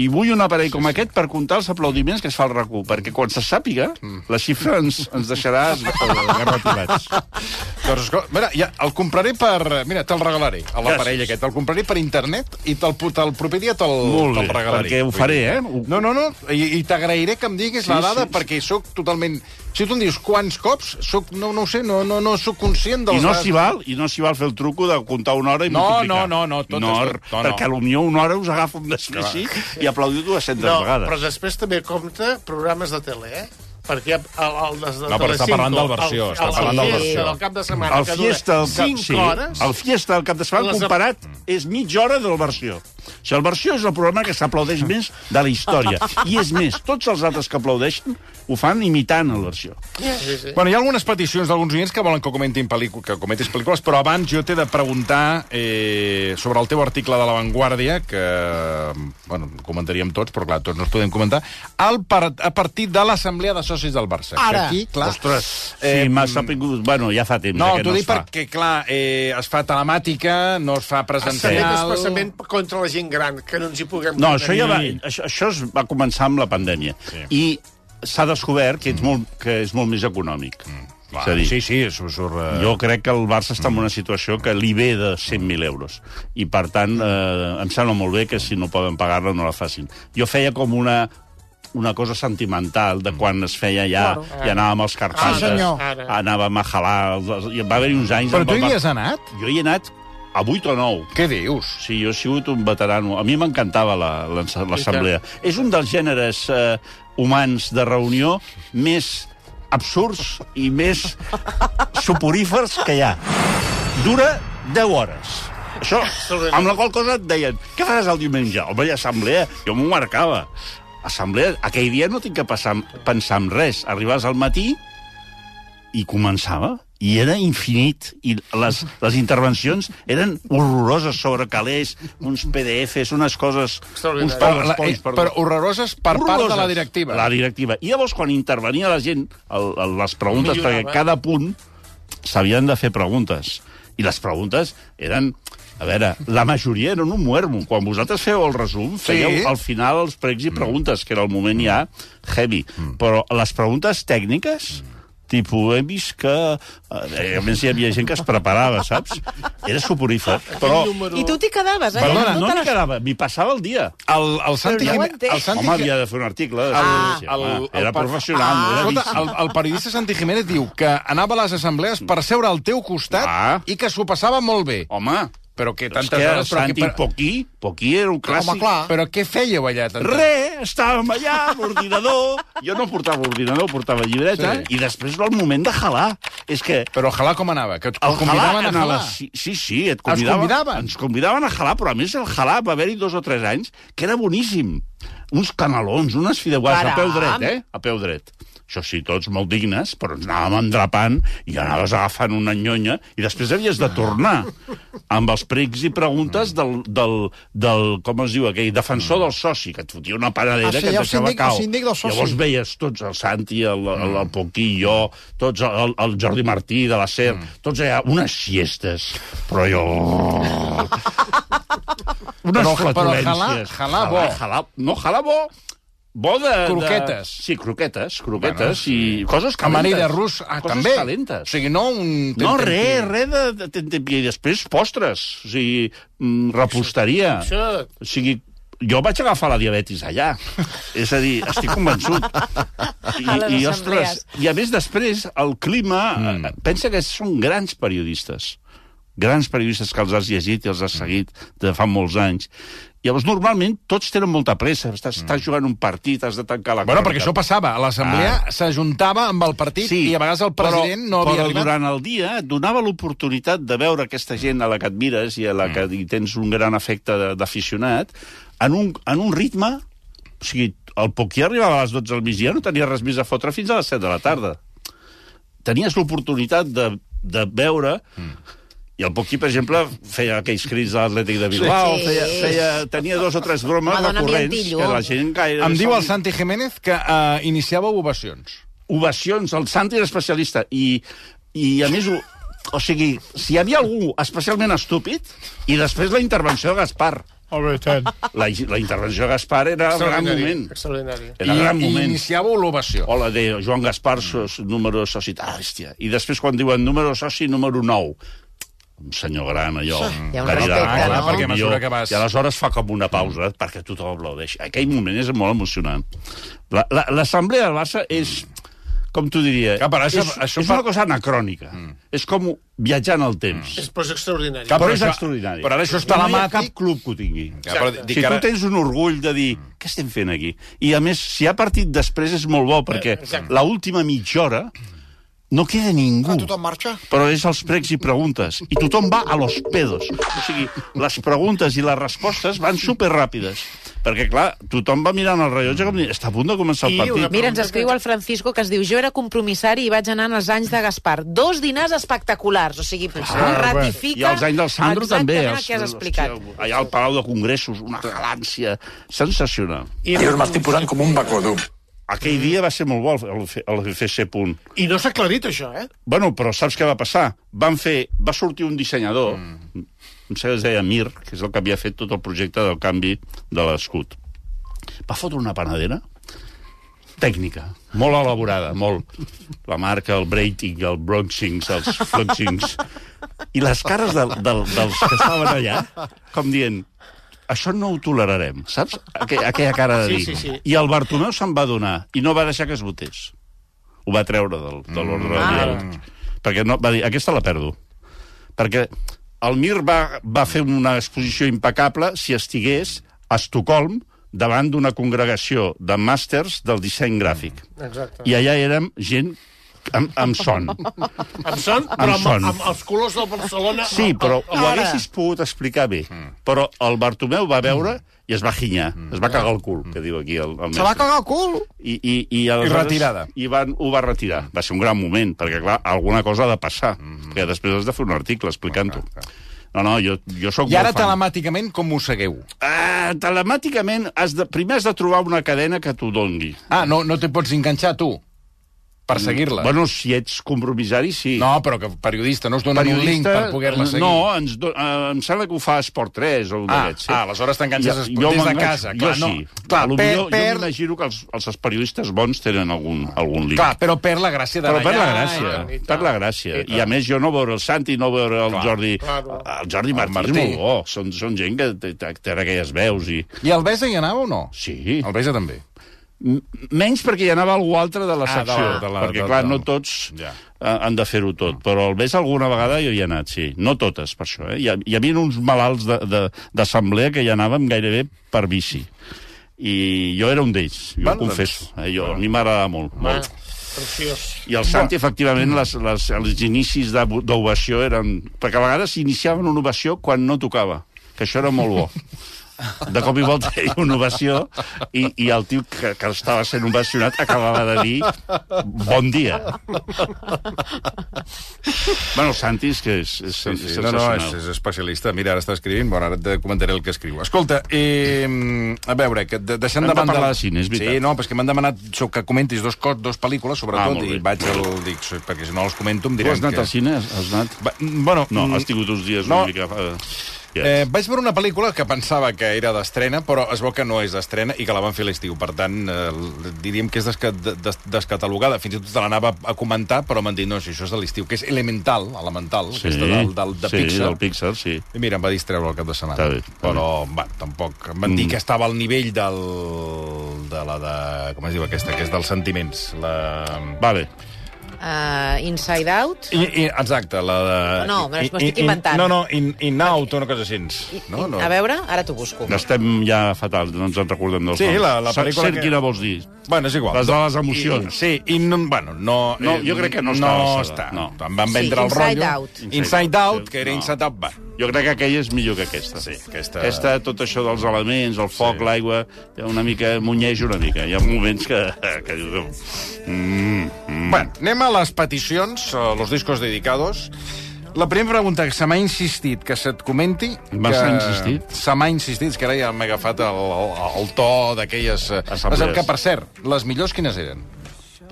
Speaker 2: I vull un aparell com aquest per comptar els aplaudiments que es fa al rac perquè quan se sàpiga,
Speaker 1: Mm.
Speaker 2: la xifra ens, ens deixarà es- garratilats.
Speaker 1: Doncs, escol- mira, ja, el compraré per... Mira, te'l regalaré, a l'aparell
Speaker 2: Gràcies.
Speaker 1: aquest. El compraré per internet i te'l pu- te'l proper dia te'l
Speaker 2: Molt
Speaker 1: te'l
Speaker 2: bé,
Speaker 1: regalaré.
Speaker 2: perquè ho faré, eh? Ho-
Speaker 1: No, no, no, i, i t'agrairé que em diguis
Speaker 2: Sí,
Speaker 1: la dada,
Speaker 2: sí.
Speaker 1: perquè sóc totalment... Si tu em dius quants cops, sóc, no, no ho sé, no, no, no sóc conscient
Speaker 2: I
Speaker 1: dels...
Speaker 2: no s'hi val, i no s'hi val fer el truco de comptar una hora i
Speaker 1: No, no,
Speaker 2: multiplicar.
Speaker 1: no, no, tot
Speaker 2: no,
Speaker 1: és
Speaker 2: tot,
Speaker 1: tot, no, no.
Speaker 2: Perquè potser una hora us agafo un desfeixit i aplaudiu 200
Speaker 4: No,
Speaker 2: vegades.
Speaker 4: però després també compta programes de tele, eh? Perquè el, el des de
Speaker 1: No, però està
Speaker 4: Telecinco,
Speaker 1: parlant del versió,
Speaker 4: el-
Speaker 1: està
Speaker 4: el-
Speaker 1: parlant
Speaker 4: el
Speaker 1: del
Speaker 4: Fiesta
Speaker 1: versió.
Speaker 4: del cap de setmana,
Speaker 2: El
Speaker 4: que
Speaker 2: fiesta del
Speaker 4: dura
Speaker 2: cap,
Speaker 4: 5
Speaker 2: sí,
Speaker 4: hores...
Speaker 2: el fiesta del cap de setmana
Speaker 4: Les-
Speaker 2: comparat és mitja hora de la versió. O sigui, el versió és el programa que s'aplaudeix més de la història. I és més, tots els altres que aplaudeixen ho fan imitant el versió.
Speaker 4: Sí, sí.
Speaker 1: Bueno, hi ha algunes peticions d'alguns oients que volen que comentin pel·lícules, que comentis pel·lícules, però abans jo t'he de preguntar eh, sobre el teu article de La Vanguardia, que, bueno, comentaríem tots, però clar, tots no els podem comentar, al par a partir de l'Assemblea de Socis del Barça. que
Speaker 3: Ara.
Speaker 1: Aquí, clar,
Speaker 2: Ostres, sí, m'ha sapingut... Bueno, ja fa temps
Speaker 1: No,
Speaker 2: eh, que
Speaker 1: t'ho
Speaker 2: Eh, mm. no
Speaker 1: dic
Speaker 2: es fa.
Speaker 1: perquè, clar, eh, es fa telemàtica, no es fa
Speaker 4: S'ha fet
Speaker 1: presencial...
Speaker 4: especialment contra la gent gran, que no ens hi puguem...
Speaker 2: No, això ja va,
Speaker 4: contenir.
Speaker 2: això, això es va començar amb la pandèmia. Sí. I s'ha descobert que, ets molt, que és molt més econòmic. Mm.
Speaker 1: Clar,
Speaker 2: és a dir,
Speaker 1: sí, sí, surt... surt eh, Mm.
Speaker 2: Jo crec que el Barça està en una situació que li ve de 100.000 euros. I, per tant, eh, em sembla molt bé que si no poden pagar-la no la facin. Jo feia com una una cosa sentimental
Speaker 1: Mm.
Speaker 2: de quan es feia ja, i anàvem als Carpates,
Speaker 4: Sí, senyor. Ara.
Speaker 2: anàvem a jalar, els- hi va haver uns anys...
Speaker 1: Però
Speaker 2: amb
Speaker 1: tu
Speaker 2: el
Speaker 1: hi
Speaker 2: Bar-
Speaker 1: has anat?
Speaker 2: Jo hi he anat a 8 o 9.
Speaker 1: Què dius?
Speaker 2: Sí, jo he sigut un veterano. A mi m'encantava la- l'ense- l'assemblea. És un dels gèneres eh, humans de reunió més absurds i més suporífers que hi ha. Dura 10 hores. Això, amb la qual cosa et deien, què faràs el diumenge? Home, hi ha assemblea. Jo m'ho marcava. Assemblea, aquell dia no tinc que passar, pensar en res. Arribaves al matí i començava i era infinit, i les, les intervencions eren horroroses sobre calés, uns PDFs, unes coses...
Speaker 4: Extraordinari.
Speaker 2: Uns
Speaker 1: Però, la, eh,
Speaker 2: PowerPoints, perdó.
Speaker 1: però horroroses per part de la
Speaker 2: Horroroses.
Speaker 1: directiva.
Speaker 2: La directiva. I llavors, quan intervenia la gent, el, el, les preguntes,
Speaker 4: Millorava.
Speaker 2: perquè cada punt s'havien de fer preguntes. I les preguntes eren... A veure, la majoria eren un muermo. Quan vosaltres feu el resum, fèieu al final els pregs i preguntes, que era el moment ja heavy. Però les preguntes tècniques, tipus, he vist que... eh, A més, hi havia gent que es preparava, saps? Era suporífer. Però...
Speaker 4: Número...
Speaker 3: I tu t'hi quedaves, eh?
Speaker 2: Perdona, no
Speaker 3: Tota
Speaker 2: m'hi
Speaker 3: la-
Speaker 2: quedava, m'hi passava el dia.
Speaker 1: El, el Santi,
Speaker 3: ja ho
Speaker 1: Gimé-
Speaker 3: entenc.
Speaker 1: el Santi
Speaker 2: Home,
Speaker 1: Gimé-
Speaker 2: havia de fer un article. De
Speaker 1: Ah,
Speaker 2: ciència.
Speaker 1: el, el,
Speaker 2: era
Speaker 1: per- Ah,
Speaker 2: professional, no era
Speaker 1: escolta, el, el periodista Santi Jiménez diu que anava a les assemblees per seure al teu costat
Speaker 2: Ah.
Speaker 1: i que s'ho passava molt bé.
Speaker 2: Home,
Speaker 1: Però que
Speaker 2: és
Speaker 1: tantes
Speaker 2: que el
Speaker 1: hores... Però,
Speaker 2: Santi
Speaker 1: que, però,
Speaker 2: Poquí, Poquí era un clàssic.
Speaker 1: clar. però què fèieu allà? Tantes...
Speaker 2: Re, estàvem allà, amb l'ordinador... Jo no portava ordinador, portava llibreta,
Speaker 1: Sí.
Speaker 2: sí. i després va el moment de jalar. És que...
Speaker 1: Però jalar com anava? Que et
Speaker 2: El
Speaker 1: convidaven a jalar.
Speaker 2: Sí, sí, sí, et convidaven.
Speaker 1: convidaven?
Speaker 2: Ens convidaven a jalar, però a més el jalar va haver-hi dos o tres anys, que era boníssim. Uns canalons, unes fideuàs, a
Speaker 3: Caram!
Speaker 2: peu dret, eh? A peu dret. Això sí, tots molt dignes, però ens anàvem endrapant i anaves agafant una nyonya i després havies de tornar amb els pregs i preguntes del, del, del com es diu aquell, defensor del soci, que et fotia una panadera
Speaker 5: Ah, sí,
Speaker 2: que et
Speaker 5: el
Speaker 2: deixava
Speaker 5: síndic- el
Speaker 2: cau.
Speaker 5: síndic del soci.
Speaker 2: Llavors veies tots, el Santi, el, el, el Poquí, jo, tots, el, el Jordi Martí, de la SER, tots allà, unes siestes, però jo... unes
Speaker 1: Però- però
Speaker 2: però, flatulències.
Speaker 1: jalar- jalar bo.
Speaker 2: Jalar, no, jalar bo, bo de...
Speaker 1: Croquetes.
Speaker 2: De... Sí, croquetes, croquetes
Speaker 1: Bueno,
Speaker 2: bueno,
Speaker 1: sí.
Speaker 2: sí. i coses calentes.
Speaker 1: Amanida rus, ah,
Speaker 2: coses
Speaker 1: també.
Speaker 2: calentes.
Speaker 1: O sigui, no un...
Speaker 2: No,
Speaker 1: ten- ten-
Speaker 2: res, res de, de, de, de, i després postres, o sigui, mm, reposteria.
Speaker 4: Això-
Speaker 2: O sigui, jo vaig agafar la diabetis allà. És a dir, estic convençut. I,
Speaker 3: A les
Speaker 2: i,
Speaker 3: assemblees.
Speaker 2: ostres, i a més després, el clima... Mm. Pensa que són grans periodistes. Grans periodistes que els has llegit i els
Speaker 1: Mm.
Speaker 2: has seguit de fa molts anys. Llavors, normalment, tots tenen molta pressa. Estàs, estàs jugant un partit, has de tancar la
Speaker 1: Mm. Bueno,
Speaker 2: corda.
Speaker 1: perquè això passava. A l'assemblea s'ajuntava amb el partit sí, i a vegades el president
Speaker 2: Ah. però,
Speaker 1: no havia
Speaker 2: però
Speaker 1: arribat.
Speaker 2: durant el dia et donava l'oportunitat de veure aquesta gent a la que et mires i a la
Speaker 1: Mm.
Speaker 2: que hi tens un gran efecte de- d'aficionat en, un, en un ritme... O sigui, el Poquí arribava a les 12 del migdia, no tenia res més a fotre fins a les 7 de la tarda. Tenies l'oportunitat de, de veure... Mm. I el Poquí, per exemple, feia aquells crits de l'Atlètic de Bilbao,
Speaker 3: Sí.
Speaker 2: feia, feia, tenia dos o tres bromes
Speaker 3: Madonna
Speaker 2: recurrents
Speaker 3: Ambientillo.
Speaker 2: que la gent gaire...
Speaker 1: Em diu el
Speaker 2: són-
Speaker 1: Santi Jiménez que uh, iniciava ovacions.
Speaker 2: ovacions, el Santi era especialista, i, i a més, ho, o sigui, si hi havia algú especialment estúpid, i després la intervenció de Gaspar.
Speaker 4: Home, tant.
Speaker 2: La, la intervenció de Gaspar era el gran moment.
Speaker 4: Extraordinari.
Speaker 2: Era el gran
Speaker 1: I, I
Speaker 2: moment.
Speaker 1: iniciava l'ovació.
Speaker 2: Hola, de Joan Gaspar,
Speaker 1: Mm.
Speaker 2: so, so- número soci... Ah, hòstia. I després quan diuen número soci, número 9. Un senyor gran, allò.
Speaker 3: hi ha un
Speaker 2: que li
Speaker 3: respecte,
Speaker 2: demana,
Speaker 3: no?
Speaker 1: Perquè a mesura que vas- Mm.
Speaker 2: I aleshores fa com una pausa, perquè tothom aplaudeix. Aquell moment és molt emocionant. La- la- L'assemblea del Barça és com t'ho diria,
Speaker 1: Mm. Clar, però això-
Speaker 2: és,
Speaker 1: això
Speaker 2: és
Speaker 1: fa-
Speaker 2: una cosa anacrònica. Mm. És com viatjar en el temps.
Speaker 4: És, però és extraordinari.
Speaker 2: Cap, però és
Speaker 1: això-
Speaker 2: extraordinari.
Speaker 1: Però ara això està a la
Speaker 2: no hi
Speaker 1: mà...
Speaker 2: ha cap club que ho tingui.
Speaker 1: Ja, però
Speaker 4: Exacte.
Speaker 1: dic
Speaker 2: si
Speaker 1: que ara-
Speaker 2: tu tens un orgull de dir què estem fent aquí? I a més, si hi ha partit després és molt bo, perquè
Speaker 4: Exacte.
Speaker 2: la última mitja hora no queda ningú.
Speaker 5: Ah, tothom marxa?
Speaker 2: Però és els pregs i preguntes. I tothom va a los pedos. O sigui, les preguntes i les respostes van superràpides. Perquè, clar, tothom va mirant el rellotge com dir, està a punt de començar el
Speaker 4: I una
Speaker 2: partit.
Speaker 4: pregunta
Speaker 3: Mira, ens escriu el Francisco que es diu jo era compromissari i vaig anar en els anys de Gaspar. Dos dinars espectaculars, o sigui, ah, ratifica...
Speaker 2: I els anys del Sandro també.
Speaker 3: Exactament el
Speaker 2: els-
Speaker 3: que has explicat.
Speaker 2: Hòstia, Allà al Palau de Congressos, una galància sensacional.
Speaker 4: I,
Speaker 6: Dios, me estoy posant com un bacodum.
Speaker 2: Aquell dia va ser molt bo el, el, el FC Punt.
Speaker 4: I no s'ha aclarit, això, eh?
Speaker 2: Bueno, però saps què va passar? Van fer... Va sortir un dissenyador, mm. em sembla que es deia Mir, que és el que havia fet tot el projecte del canvi de l'escut. Va fotre una panadera tècnica, molt elaborada, molt. La marca, el braiding, el bronxings, els fluxings... I les cares del, del, dels que estaven allà, com dient, això no ho tolerarem, saps? Aqu aquella cara de
Speaker 4: Sí,
Speaker 2: dir.
Speaker 4: sí, sí.
Speaker 2: I el Bartomeu se'n va donar i no va deixar que es votés ho va treure del, de
Speaker 4: Mm.
Speaker 2: l'ordre
Speaker 4: Ah.
Speaker 2: del dia. Perquè no, va dir, aquesta la perdo. Perquè el Mir va, va fer una exposició impecable si estigués a Estocolm davant d'una congregació de màsters del disseny gràfic.
Speaker 4: Exacte.
Speaker 2: I allà érem gent amb, amb son.
Speaker 4: Em son, però amb,
Speaker 2: son.
Speaker 4: amb, els colors del Barcelona...
Speaker 2: Sí, però ho
Speaker 4: Ara.
Speaker 2: haguessis pogut explicar bé. Però el Bartomeu va veure i es va ginyar, es va cagar el cul, que diu aquí el, el mestre.
Speaker 5: Se va cagar el cul.
Speaker 2: I, i, i, aleshores-
Speaker 1: retirada.
Speaker 2: I van, ho va retirar. Va ser un gran moment, perquè, clar, alguna cosa ha de passar. Mm -hmm. Que després has de fer un article explicant-ho. No, no, jo, jo sóc
Speaker 1: I ara
Speaker 2: molt fan.
Speaker 1: telemàticament com ho segueu?
Speaker 2: Ah, telemàticament, has de, primer has de trobar una cadena que t'ho dongui.
Speaker 1: Ah, no, no te pots enganxar, tu, per seguir-la.
Speaker 2: Mm. Bueno, si ets compromissari, sí.
Speaker 1: No, però que periodista, no us donen un link per poder-la seguir.
Speaker 2: No, ens do, eh, em sembla que ho fa Esport 3 o un
Speaker 1: Ah,
Speaker 2: d'aquests.
Speaker 1: ah, aleshores t'enganxes a Esport-
Speaker 2: Jo
Speaker 1: des de
Speaker 2: m'enganxo,
Speaker 1: casa,
Speaker 2: Jo
Speaker 1: clar, no.
Speaker 2: sí.
Speaker 1: Clar,
Speaker 2: a lo
Speaker 1: per-
Speaker 2: millor,
Speaker 1: per-
Speaker 2: Jo m'imagino que els, els periodistes bons tenen algun, algun link.
Speaker 1: Clar, però perd la gràcia d'anar
Speaker 2: Però per la
Speaker 1: allà. eh,
Speaker 2: gràcia,
Speaker 4: i tant.
Speaker 2: per la gràcia. I, a més, jo no veure el Santi, no veure el Jordi...
Speaker 4: Claro.
Speaker 2: El Jordi Martí,
Speaker 1: Martí.
Speaker 2: és molt bo. Són, són gent que té- té té aquelles veus i...
Speaker 1: I el Besa hi anava o no?
Speaker 2: Sí.
Speaker 1: El Besa també.
Speaker 2: Menys perquè hi anava algú altre de la
Speaker 1: Ah, de la-
Speaker 2: secció.
Speaker 1: de la-
Speaker 2: perquè,
Speaker 1: de-
Speaker 2: clar,
Speaker 1: de-
Speaker 2: no tots
Speaker 1: Ja. Mm.
Speaker 2: ja. han de fer-ho tot. Però el Bes alguna vegada jo hi he anat, sí. No totes, per això. Eh? Hi, ha- hi havia uns malalts de- de- d'assemblea que hi anàvem gairebé per bici. I jo era un d'ells, jo
Speaker 1: Bueno, doncs.
Speaker 2: ho confesso. Eh? Jo, a mi m'agradava molt, molt.
Speaker 4: Preciós.
Speaker 2: I el Santi,
Speaker 1: Mm.
Speaker 2: efectivament, les, les, els inicis de- d'ovació eren... Perquè a vegades s'iniciaven una ovació quan no tocava, que això era molt bo. De cop i volta hi ha una ovació i, i el tio que, que estava sent ovacionat acabava de dir bon dia. bueno, el Santi és que és, és,
Speaker 1: Sí, sí, no, no, és, és especialista. Mira, ara està escrivint, bueno, ara et comentaré el que escriu. Escolta, eh, a veure, que de, deixant
Speaker 2: Hem de
Speaker 1: de banda...
Speaker 2: parlar de cine, és veritat.
Speaker 1: Sí, no, però és que m'han demanat so- que comentis dos, cos, dos pel·lícules,
Speaker 2: Ah,
Speaker 1: sobretot,
Speaker 2: molt
Speaker 1: i
Speaker 2: bé.
Speaker 1: vaig al... Dic, so- perquè si no els comento em
Speaker 2: Tu
Speaker 1: diran
Speaker 2: has anat
Speaker 1: que...
Speaker 2: al cine? Has anat?
Speaker 1: Va, bueno,
Speaker 2: No,
Speaker 1: mm,
Speaker 2: has tingut uns dies
Speaker 1: no.
Speaker 2: una mica... eh,
Speaker 1: Eh,
Speaker 2: yes.
Speaker 1: vaig veure una pel·lícula que pensava que era d'estrena, però es veu que no és d'estrena i que la van fer a l'estiu. Per tant, eh, l- diríem que és desca des- des descatalogada. Fins i tot te l'anava a comentar, però m'han dit, no, si això és de l'estiu, que és Elemental, Elemental, sí, aquesta del, del, de
Speaker 2: sí,
Speaker 1: Pixar.
Speaker 2: del Pixar, sí.
Speaker 1: I mira, em va distreure el cap de setmana.
Speaker 2: Està bé, Mm. està
Speaker 1: però, va, tampoc... Em van dir que estava al nivell del... de la de... com es diu aquesta? Que és dels sentiments. La...
Speaker 2: Vale.
Speaker 3: Uh, Inside Out?
Speaker 1: I, i, exacte, la de...
Speaker 3: No, me l'estic
Speaker 1: I- i- i-
Speaker 3: inventant.
Speaker 1: No, no, in, in out, una cosa així.
Speaker 3: I,
Speaker 1: No, no.
Speaker 3: A veure, ara t'ho busco.
Speaker 2: Estem ja fatal, no ens en recordem dels
Speaker 1: Sí,
Speaker 2: noms.
Speaker 1: la- la
Speaker 2: Sa-
Speaker 1: pel·lícula
Speaker 2: Sent
Speaker 1: que-
Speaker 2: quina vols dir?
Speaker 1: Bueno, és igual.
Speaker 2: Les de les emocions.
Speaker 1: I, sí, i no, bueno, no...
Speaker 2: No,
Speaker 1: eh,
Speaker 2: jo crec que no està a
Speaker 1: no
Speaker 2: la
Speaker 1: està.
Speaker 2: sala,
Speaker 1: No.
Speaker 2: no.
Speaker 1: Em van
Speaker 3: Sí,
Speaker 1: vendre el
Speaker 3: Inside
Speaker 1: rotllo.
Speaker 3: Out.
Speaker 1: Inside, Inside Out, que era
Speaker 2: No.
Speaker 1: Inside Out, va.
Speaker 2: Jo crec que aquella és millor que aquesta.
Speaker 1: Sí, aquesta-
Speaker 2: aquesta tot això dels elements, el foc, sí. l'aigua, una mica munyeix una mica. Hi ha moments que... que dius,
Speaker 1: Bueno, anem a les peticions, a los discos dedicados. La primera pregunta que se m'ha insistit que se't comenti...
Speaker 2: M'has
Speaker 1: que-
Speaker 2: insistit?
Speaker 1: Se m'ha insistit, és que ara ja m'he agafat el, el, el to d'aquelles... eh,
Speaker 2: Assemblees.
Speaker 1: Que, per cert, les millors quines eren?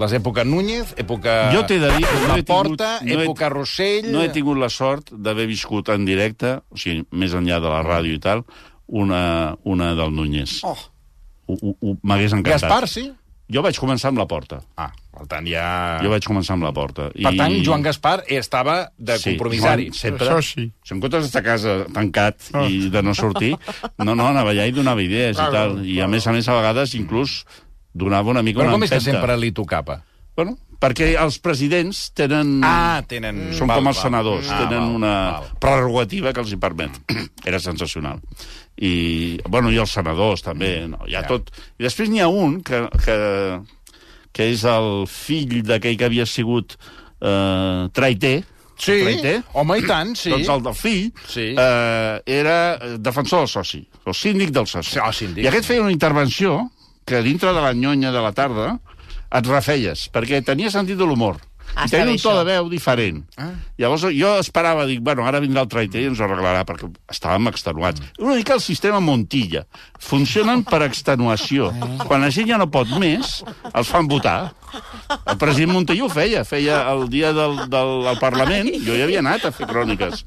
Speaker 1: Les època Núñez, època...
Speaker 2: Jo t'he de dir que no
Speaker 1: La
Speaker 2: he tingut-
Speaker 1: Porta,
Speaker 2: no he-
Speaker 1: època Rossell...
Speaker 2: No he tingut la sort d'haver viscut en directe, o sigui, més enllà de la ràdio i tal, una, una del Núñez.
Speaker 1: Oh.
Speaker 2: Ho- ho- ho- M'hagués encantat.
Speaker 1: Gaspar, sí?
Speaker 2: Jo vaig començar amb la porta.
Speaker 1: Ah, per tant, ja...
Speaker 2: Jo vaig començar amb la porta.
Speaker 1: Ah. Per tant, Joan Gaspar estava de
Speaker 2: Sí,
Speaker 1: compromissari.
Speaker 2: Joan, sempre.
Speaker 4: Això sí.
Speaker 2: Si en comptes d'estar a casa tancat i de no sortir, no, no, anava allà i donava idees
Speaker 4: Ah. Claro,
Speaker 2: i tal. I a
Speaker 4: claro.
Speaker 2: més a més, a vegades, inclús, donava una mica
Speaker 1: Però
Speaker 2: una
Speaker 1: com és que
Speaker 2: empenta.
Speaker 1: sempre li tocava?
Speaker 2: Bueno, perquè els presidents tenen...
Speaker 1: Ah, tenen...
Speaker 2: Són
Speaker 1: val,
Speaker 2: com els
Speaker 1: val.
Speaker 2: senadors,
Speaker 1: Ah,
Speaker 2: tenen
Speaker 1: val,
Speaker 2: una
Speaker 1: val.
Speaker 2: prerrogativa que els hi permet. Era sensacional. I, bueno, i els senadors, també. No, hi ha
Speaker 1: Ja.
Speaker 2: tot... I després n'hi ha un que, que, que és el fill d'aquell que havia sigut eh, traiter.
Speaker 1: Sí,
Speaker 2: traiter.
Speaker 1: home, i tant, sí.
Speaker 2: Doncs el del fill
Speaker 1: Sí.
Speaker 2: eh, era eh, defensor del soci, el síndic del soci.
Speaker 1: Sí, el Ah, síndic.
Speaker 2: I aquest feia una intervenció que dintre de la nyonya de la tarda et refeies, perquè tenia sentit de l'humor.
Speaker 3: Ah,
Speaker 2: I
Speaker 3: està
Speaker 2: tenia
Speaker 3: bé,
Speaker 2: un to
Speaker 3: això.
Speaker 2: de veu diferent. Ah. Llavors jo esperava, dic, bueno, ara vindrà el traiter i ens ho arreglarà, perquè estàvem extenuats. Mm. Una mica el sistema Montilla. Funcionen per extenuació.
Speaker 1: Ah.
Speaker 2: Quan la gent ja no pot més, els fan votar. El president Montilla ho feia, feia el dia del, del, del Parlament, jo hi havia anat a fer cròniques.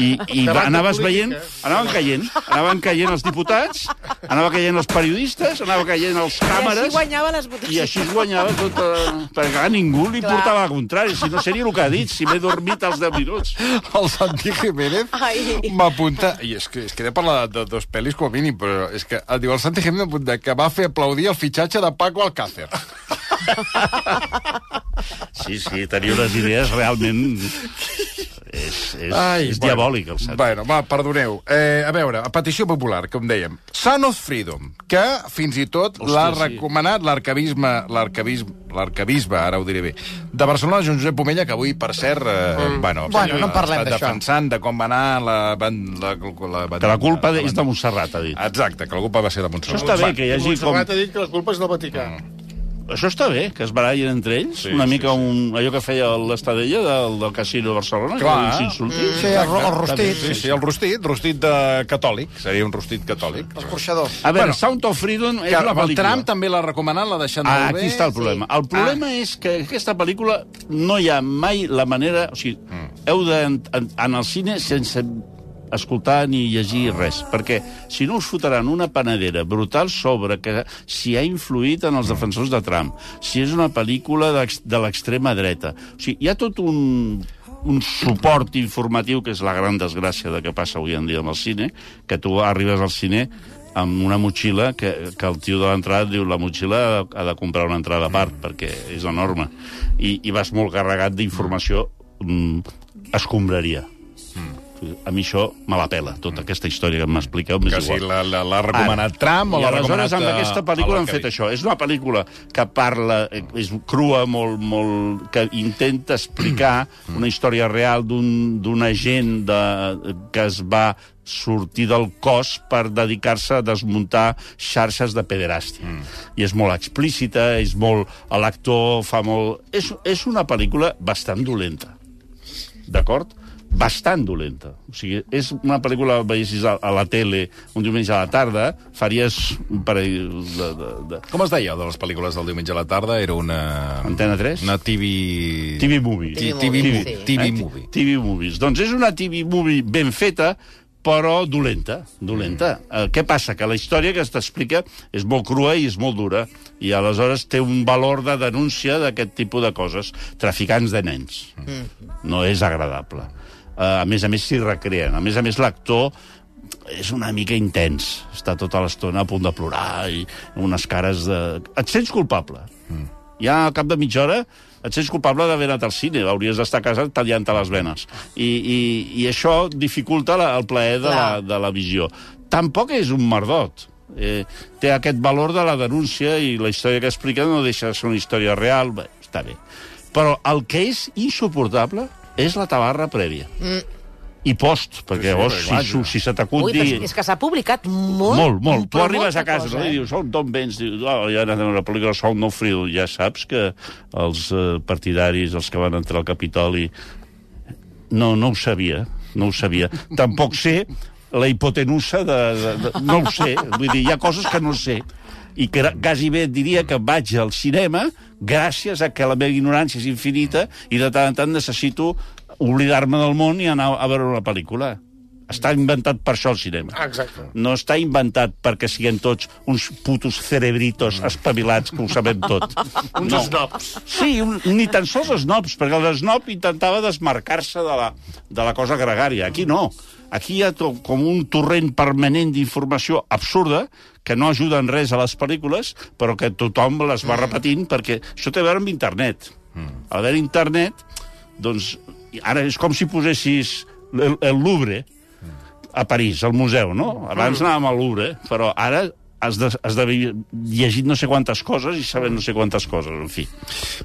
Speaker 2: I, i
Speaker 4: Debat
Speaker 2: va,
Speaker 4: de
Speaker 2: anaves
Speaker 4: política.
Speaker 2: veient, anaven caient, anaven caient els diputats, anava caient els periodistes, anava caient els
Speaker 3: I així
Speaker 2: càmeres,
Speaker 3: guanyava les votacions.
Speaker 2: i així es guanyava tot... eh, Perquè a ningú li
Speaker 3: Clar.
Speaker 2: portava al contrari, si no seria el que ha dit, si m'he dormit als 10 minuts.
Speaker 1: El Santi Jiménez
Speaker 3: Ai.
Speaker 1: m'apunta... I és que, és que he de parlar de, de dos pel·lis com a mínim, però és que el, diu, el Santi Jiménez m'apunta que va fer aplaudir el fitxatge de Paco Alcácer.
Speaker 2: Sí, sí, tenia unes idees realment... És, és, és
Speaker 1: bueno.
Speaker 2: diabòlic, el Santi.
Speaker 1: Bueno, va, perdoneu. Eh, a veure, a petició popular, com dèiem. Son of Freedom, que fins i tot l'ha
Speaker 2: sí.
Speaker 1: recomanat l'arcabisme, l'arcabisme, l'arcabisbe, ara ho diré bé, de Barcelona, Joan Josep Pomella, que avui, per cert, eh, bueno,
Speaker 5: Mm. Bueno, no en parlem
Speaker 1: està
Speaker 5: d'això.
Speaker 1: defensant de com va anar la... van- la, la, la
Speaker 2: Que la culpa és de Montserrat, ha dit.
Speaker 1: Exacte, que la culpa va ser de Montserrat.
Speaker 2: Això està bé,
Speaker 1: Va,
Speaker 2: que hi hagi com... Mm.
Speaker 4: Montserrat ha dit que la culpa és del Vaticà.
Speaker 2: Això està bé, que es barallen entre ells,
Speaker 1: Sí,
Speaker 2: sí, una
Speaker 1: sí,
Speaker 2: mica sí, Un, allò que feia l'estadella del, del casino de Barcelona,
Speaker 1: Clar.
Speaker 2: que s'insulti.
Speaker 5: Sí, el, ro- el rostit.
Speaker 1: Sí, sí, el rostit, rostit de catòlic. Seria un rostit catòlic.
Speaker 5: Els porxadors.
Speaker 2: A veure,
Speaker 1: Bueno,
Speaker 2: bueno, Sound of Freedom és
Speaker 1: Que
Speaker 2: una
Speaker 1: el
Speaker 2: pel·lícula.
Speaker 1: Trump també l'ha recomanat, l'ha deixat
Speaker 2: Ah,
Speaker 1: molt bé.
Speaker 2: aquí està el problema. El problema ah. és que aquesta pel·lícula no hi ha mai la manera... O sigui, mm. heu d'anar al cine sense escoltar ni llegir res, perquè si no us fotran una panadera brutal sobre que si ha influït en els defensors de Trump, si és una pel·lícula d'ex- de l'extrema dreta. O sigui, hi ha tot un un suport informatiu, que és la gran desgràcia de que passa avui en dia amb el cine, que tu arribes al cine amb una motxilla que, que el tio de l'entrada et diu la motxilla ha de comprar una entrada a part, perquè és enorme. I, i vas molt carregat d'informació mm, escombraria. A mi això me la pela, tota aquesta història que m'expliqueu. m'és
Speaker 1: Que si
Speaker 2: igual.
Speaker 1: l'ha la, la recomanat Trump o
Speaker 2: I
Speaker 1: l'ha
Speaker 2: aleshores
Speaker 1: recomanat...
Speaker 2: amb
Speaker 1: eh,
Speaker 2: aquesta pel·lícula han
Speaker 1: Alcalde.
Speaker 2: fet això. És una pel·lícula que parla, eh, és crua, molt, molt, que intenta explicar
Speaker 1: Mm.
Speaker 2: una història real d'un d'un agent de, que es va sortir del cos per dedicar-se a desmuntar xarxes de pederàstia. Mm. I és molt explícita, és molt... L'actor fa molt... És, és una pel·lícula bastant dolenta d'acord? bastant dolenta. O sigui, és una pel·lícula que veiessis a, a la tele un diumenge a la tarda, faries un parell de... de, de...
Speaker 1: Com es deia, el de les pel·lícules del diumenge a la tarda? Era una...
Speaker 2: Antena 3?
Speaker 1: Una TV...
Speaker 2: TV Movie.
Speaker 1: Ti- TV,
Speaker 3: Movie,
Speaker 1: movie.
Speaker 3: sí.
Speaker 1: TV
Speaker 2: Eh,
Speaker 1: Movie.
Speaker 2: TV Movies. Doncs és una TV Movie ben feta, però dolenta, dolenta. Mm. Què passa? Que la història que es t'explica és molt crua i és molt dura, i aleshores té un valor de denúncia d'aquest tipus de coses. Traficants de nens. Mm. No és agradable. Eh, A més a més, s'hi recreen. A més a més, l'actor és una mica intens. Està tota l'estona a punt de plorar i unes cares de... Et sents culpable. Mm. Ja al cap de mitja hora et sents culpable d'haver anat al cine. Hauries d'estar a casa tallant-te les venes. I, i, i això dificulta la, el plaer de la,
Speaker 3: Clar.
Speaker 2: de la visió. Tampoc és un merdot. Eh, té aquest valor de la denúncia i la història que explica no deixa de ser una història real. Bé, està bé. Però el que és insuportable és la tabarra prèvia. Mm. I post, perquè llavors,
Speaker 1: perquè,
Speaker 2: sí,
Speaker 1: clar,
Speaker 2: si, su- si se t'acut
Speaker 3: Ui,
Speaker 2: dir...
Speaker 3: però és que s'ha publicat molt.
Speaker 2: Molt, molt. Tu
Speaker 3: però
Speaker 2: arribes
Speaker 3: molta
Speaker 2: a casa
Speaker 3: cosa, eh?
Speaker 2: no? i dius, on, d'on vens? Dius, oh, ja he anat a veure la pel·lícula Sol no friu. Ja saps que els eh, partidaris, els que van entrar al Capitoli... No, no ho sabia, no ho sabia. Tampoc sé la hipotenusa de, de, de... No ho sé, vull dir, hi ha coses que no sé i que gra- quasi bé et diria que vaig al cinema gràcies a que la meva ignorància és infinita i de tant en tant necessito oblidar-me del món i anar a veure una pel·lícula. Està inventat per això el cinema
Speaker 4: Exacte.
Speaker 2: no està inventat perquè siguem tots uns putos cerebritos espavilats que ho sabem tot.
Speaker 4: Mm. Uns
Speaker 2: No.
Speaker 4: snobs.
Speaker 2: Sí, un, ni tan sols els nobs, perquè l'esnob intentava desmarcar-se de la, de la cosa gregària. Aquí no. Aquí hi ha to, com un torrent permanent d'informació absurda que no ajuda en res a les pel·lícules, però que tothom les
Speaker 4: Mm.
Speaker 2: va repetint, perquè això té a veure amb internet. A veure, internet, doncs, ara és com si posessis el, el Louvre, a París, al museu, no? Abans anàvem al Louvre, però ara has de- has d'haver llegit no sé quantes coses i saber no sé quantes coses, en fi.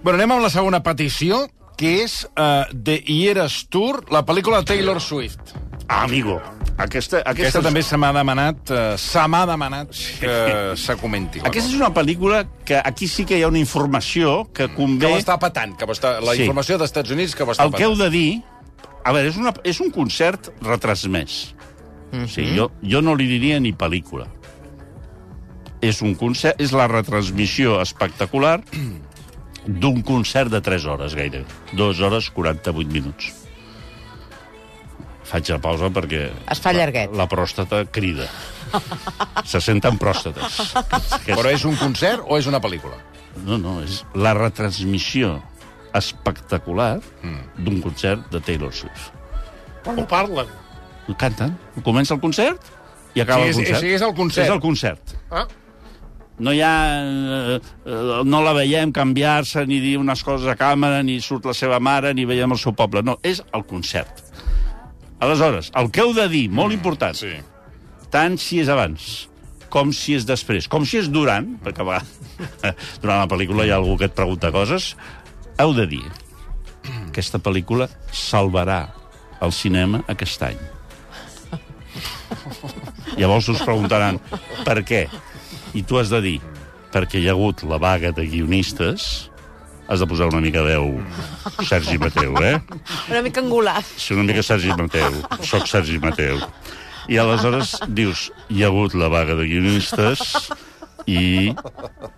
Speaker 5: Bueno, anem amb la segona petició, que és
Speaker 1: eh,
Speaker 5: uh, de Hieres Tour, la pel·lícula de Taylor Swift.
Speaker 2: Ah, amigo, aquesta, aquesta,
Speaker 1: Aquesta
Speaker 2: és-
Speaker 1: també se m'ha demanat, eh, se m'ha demanat que se comenti. la
Speaker 2: Aquesta és una pel·lícula que aquí sí que hi ha una informació que
Speaker 1: Que
Speaker 2: convé...
Speaker 1: ho està patant, que ho està, la
Speaker 2: Sí.
Speaker 1: informació dels Estats Units que ho està
Speaker 2: El que heu
Speaker 1: patant.
Speaker 2: de dir... A veure, és, una, és un concert retransmès. Mm
Speaker 3: Mhm.
Speaker 2: -hmm. sí, jo, jo no li diria ni pel·lícula. És un concert... És la retransmissió espectacular d'un concert de 3 hores, gairebé. 2 hores 48 minuts. Faig la pausa perquè...
Speaker 3: Es fa llarguet.
Speaker 2: La, la pròstata crida. Se senten pròstates.
Speaker 1: Però és un concert o és una pel·lícula?
Speaker 2: No, no, és la retransmissió espectacular
Speaker 3: Mhm.
Speaker 2: mm. d'un concert de Taylor Swift.
Speaker 4: Però no parlen.
Speaker 2: Canten, comença el concert i acaba
Speaker 1: Sí, és-
Speaker 2: el concert.
Speaker 1: sí, és el concert.
Speaker 2: És el concert.
Speaker 4: Ah,
Speaker 2: No hi ha... Eh, eh, no la veiem canviar-se, ni dir unes coses a càmera, ni surt la seva mare, ni veiem el seu poble. No, és el concert. Aleshores, el que heu de dir, molt important,
Speaker 1: Sí.
Speaker 2: tant si és abans com si és després, com si és durant, perquè va, durant la pel·lícula hi ha algú que et pregunta coses, heu de dir aquesta pel·lícula salvarà el cinema aquest any. Llavors us preguntaran per què? I tu has de dir perquè hi ha hagut la vaga de guionistes has de posar una mica veu Sergi Mateu, eh?
Speaker 3: Una mica angular.
Speaker 2: Soc una mica Sergi Mateu. Soc Sergi Mateu. I aleshores dius, hi ha hagut la vaga de guionistes i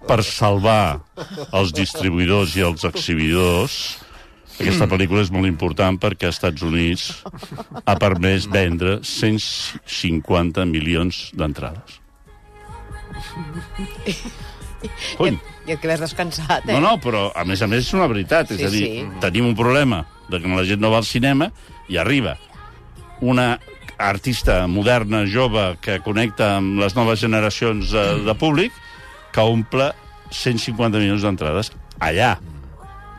Speaker 2: per salvar els distribuïdors i els exhibidors aquesta pel·lícula és molt important perquè als Estats Units ha permès vendre 150 milions d'entrades. Cony!
Speaker 3: I et quedes descansat, eh?
Speaker 2: No, no, però a més a més és una veritat.
Speaker 3: Sí,
Speaker 2: és a dir,
Speaker 3: sí. Mm.
Speaker 2: tenim un problema de que la gent no va al cinema i arriba una artista moderna, jove, que connecta amb les noves generacions de, de públic, que omple 150 milions d'entrades allà.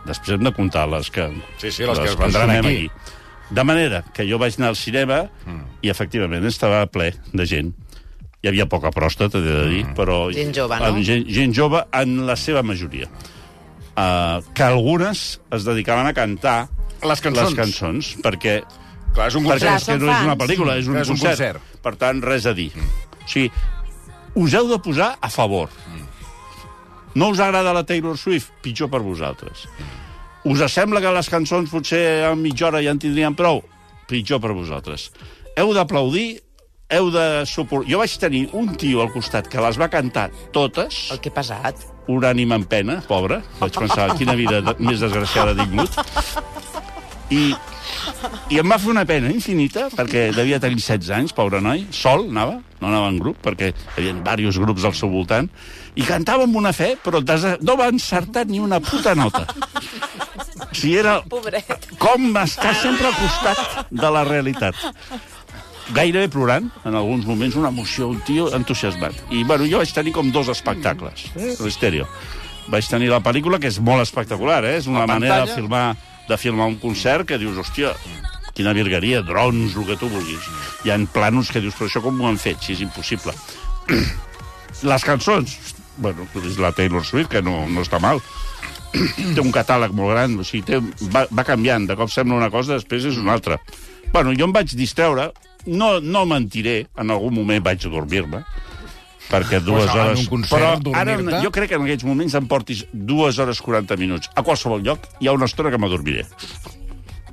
Speaker 2: Després hem de comptar les que...
Speaker 1: Sí, sí, les que es vendran
Speaker 2: consumem
Speaker 1: aquí.
Speaker 2: De manera que jo vaig anar al cinema mm. i, efectivament, estava ple de gent. Hi havia poca pròstata, t'he de dir, però...
Speaker 3: Gent jove, no?
Speaker 2: amb Gent, gent jove, en la seva majoria. Uh, que algunes es dedicaven a cantar
Speaker 1: Les cançons.
Speaker 2: les cançons perquè,
Speaker 1: Clar, és un
Speaker 2: perquè
Speaker 3: Clar,
Speaker 2: és que
Speaker 3: són
Speaker 2: no és una
Speaker 3: fans.
Speaker 2: pel·lícula, és un,
Speaker 1: Clar, és un concert.
Speaker 2: Per tant, res a dir. O sigui, us heu de posar a favor. No us agrada la Taylor Swift? Pitjor per vosaltres. Us sembla que les cançons potser a mitja hora ja en tindrien prou? Pitjor per vosaltres. Heu d'aplaudir, heu de suport... Jo vaig tenir un tio al costat que les va cantar totes,
Speaker 3: El que pesat.
Speaker 2: un ànima en pena, pobre. Vaig pensar, quina vida de- més desgraciada dic mut. I, I em va fer una pena infinita, perquè devia tenir 16 anys, pobre noi, sol anava, no anava en grup, perquè hi havia diversos grups al seu voltant, i cantava amb una fe, però desa- no va encertar ni una puta nota. O sigui, era
Speaker 3: Pobret.
Speaker 2: com està sempre al costat de la realitat. Gairebé plorant, en alguns moments, una emoció, un tio entusiasmat. I, bueno, jo vaig tenir com dos espectacles, eh? l'estèreo. Vaig tenir la pel·lícula, que és molt espectacular, eh? És una manera de filmar, de filmar un concert que dius, hòstia, quina virgueria, drons, el que tu vulguis. Hi ha planos que dius, però això com ho han fet, si és impossible. Les cançons, bueno, és la Taylor Swift, que no, no està mal, té un catàleg molt gran, o sigui, té, va, va canviant, de cop sembla una cosa, després és una altra. Bueno, jo em vaig distreure, no, no mentiré, en algun moment vaig dormir-me, perquè dues
Speaker 1: home, en
Speaker 2: hores...
Speaker 1: un concert,
Speaker 2: Però ara,
Speaker 1: dormir-te?
Speaker 2: jo crec que en aquests moments em portis dues hores 40 minuts. A qualsevol lloc hi ha una estona que m'adormiré.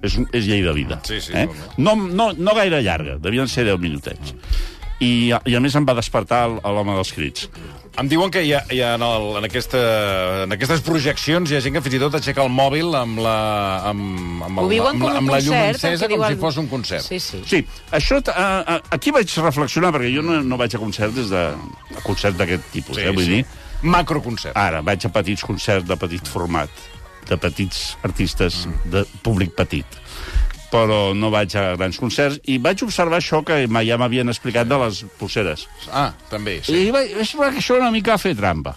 Speaker 2: És, un- és llei de vida.
Speaker 1: Sí, sí,
Speaker 2: eh?
Speaker 1: molt bé.
Speaker 2: no, no, no gaire llarga, devien ser 10 minutets. I, a- i a més em va despertar el- l'home dels crits.
Speaker 1: Em diuen que hi ha, hi ha en, el, en, aquesta, en aquestes projeccions hi ha gent que fins i tot aixeca el mòbil amb la, amb, amb,
Speaker 3: Ho
Speaker 1: el,
Speaker 3: viuen
Speaker 1: amb,
Speaker 3: com
Speaker 1: la,
Speaker 3: un
Speaker 1: amb la llum
Speaker 3: concert, el que
Speaker 1: encesa com
Speaker 3: diuen-
Speaker 1: si fos un concert.
Speaker 3: Sí, sí.
Speaker 2: Sí, això... t- A, a, aquí vaig reflexionar, perquè jo no, no vaig a concerts des de... A concert d'aquest tipus, sí, eh, vull sí. dir.
Speaker 1: Macroconcert.
Speaker 2: Ara, vaig a petits concerts de petit format, de petits artistes, mm. de públic petit. Però no vaig a grans concerts. I vaig observar això que ma- ja m'havien explicat de les pulseres.
Speaker 1: Ah, també, sí.
Speaker 2: Sí. I vaig, vaig veure que això era una mica a fer trampa.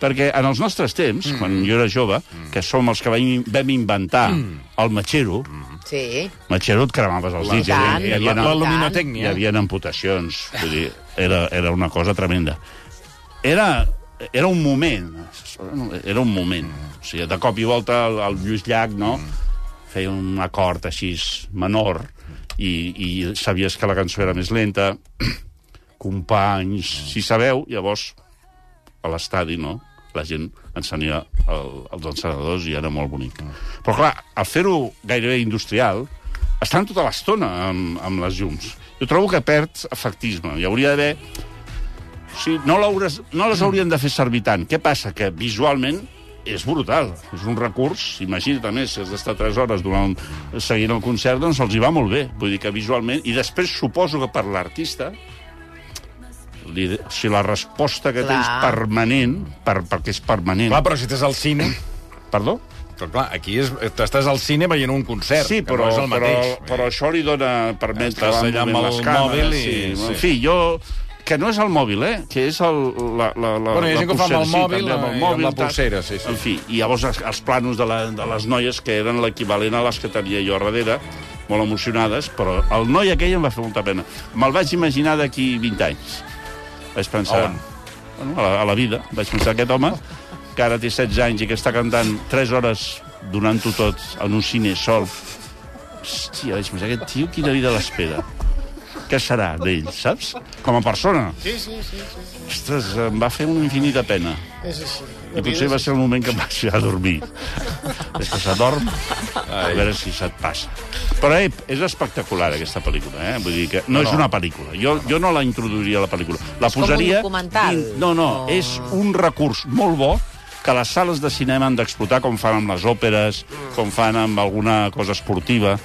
Speaker 2: Perquè en els nostres temps, mm. quan jo era jove, mm. que som els que vam, vam inventar mm. el matxero, mm.
Speaker 3: Sí.
Speaker 2: matxero et cremaves els dits. hi havia-
Speaker 3: tant,
Speaker 2: hi havia-
Speaker 3: la- la
Speaker 1: luminotècnia.
Speaker 2: Hi havia amputacions. Vull dir, era, era una cosa tremenda. Era, era un moment. Era un moment. O sigui, de cop i volta el, el Lluís Llach, no?, feia un acord així menor i, i sabies que la cançó era més lenta. Companys, si sabeu, llavors a l'estadi, no?, la gent encenia el, els encenedors i era molt bonic. Però, clar, al fer-ho gairebé industrial, estan tota l'estona amb, amb les llums. Jo trobo que perd efectisme. Hi hauria d'haver... O sigui, no, l'haures- no les haurien de fer servir tant. Què passa? Que visualment és brutal. És un recurs. Imagina't, a més, si has d'estar 3 hores durant, seguint el concert, doncs els hi va molt bé. Vull dir que visualment... I després suposo que per l'artista li, o sigui, la resposta que
Speaker 3: Clar.
Speaker 2: tens permanent, per, perquè és permanent...
Speaker 1: Clar, però si estàs al cine...
Speaker 2: Perdó?
Speaker 1: Però clar, aquí és, estàs al cine veient un concert,
Speaker 2: Sí,
Speaker 1: que
Speaker 2: però,
Speaker 1: no és el
Speaker 2: però,
Speaker 1: mateix.
Speaker 2: però això li dona permet
Speaker 1: Estàs
Speaker 2: que van
Speaker 1: allà amb
Speaker 2: movent
Speaker 1: el
Speaker 2: les càmeres,
Speaker 1: mòbil i-
Speaker 2: Sí.
Speaker 1: sí.
Speaker 2: En fi, jo... Que no és el mòbil, eh? Que és el, la, la, la,
Speaker 1: Bueno, hi ha
Speaker 2: la
Speaker 1: gent que ho fa amb el
Speaker 2: pulsera,
Speaker 1: mòbil, eh,
Speaker 2: també,
Speaker 1: i amb la
Speaker 2: tal.
Speaker 1: pulsera, sí, sí.
Speaker 2: En fi, i llavors els, els planos de, la, de les noies, que eren l'equivalent a les que tenia jo darrere, molt emocionades, però el noi aquell em va fer molta pena. Me'l vaig imaginar d'aquí 20 anys. Vaig pensar...
Speaker 1: On?
Speaker 2: Bueno, a, la, a la vida. Vaig pensar aquest home, que ara té 16 anys i que està cantant 3 hores donant-ho tot en un cine sol. Hòstia, vaig pensar, aquest tio quina vida l'espera. Què serà d'ell, saps? Com a persona.
Speaker 4: Sí, sí, sí. sí, sí.
Speaker 2: Ostres, em va fer una infinita pena.
Speaker 4: És així.
Speaker 2: I potser va ser el moment que em vaig a dormir. És que s'adorm, a veure si se't passa. Però ep, és espectacular, aquesta pel·lícula. Eh? Vull dir que no, és una pel·lícula. Jo, jo no la introduiria a la pel·lícula. La
Speaker 3: com un
Speaker 2: posaria...
Speaker 3: documental.
Speaker 2: dins- No, no,
Speaker 3: Oh.
Speaker 2: oh. és un recurs molt bo que les sales de cinema han d'explotar, com fan amb les òperes, com fan amb alguna cosa esportiva.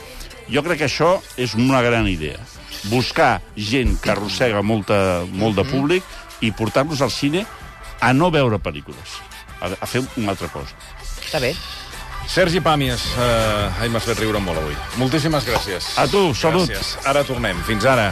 Speaker 2: Jo crec que això és una gran idea. Buscar gent que arrossega molta, molt de públic i portar-los al cine a no veure pel·lícules, a, a fer una altra cosa.
Speaker 3: Està bé.
Speaker 1: Sergi Pàmies, eh, ai, m'has fet riure molt avui. Moltíssimes gràcies.
Speaker 2: A tu, salut!
Speaker 1: Gràcies. Ara tornem. Fins ara.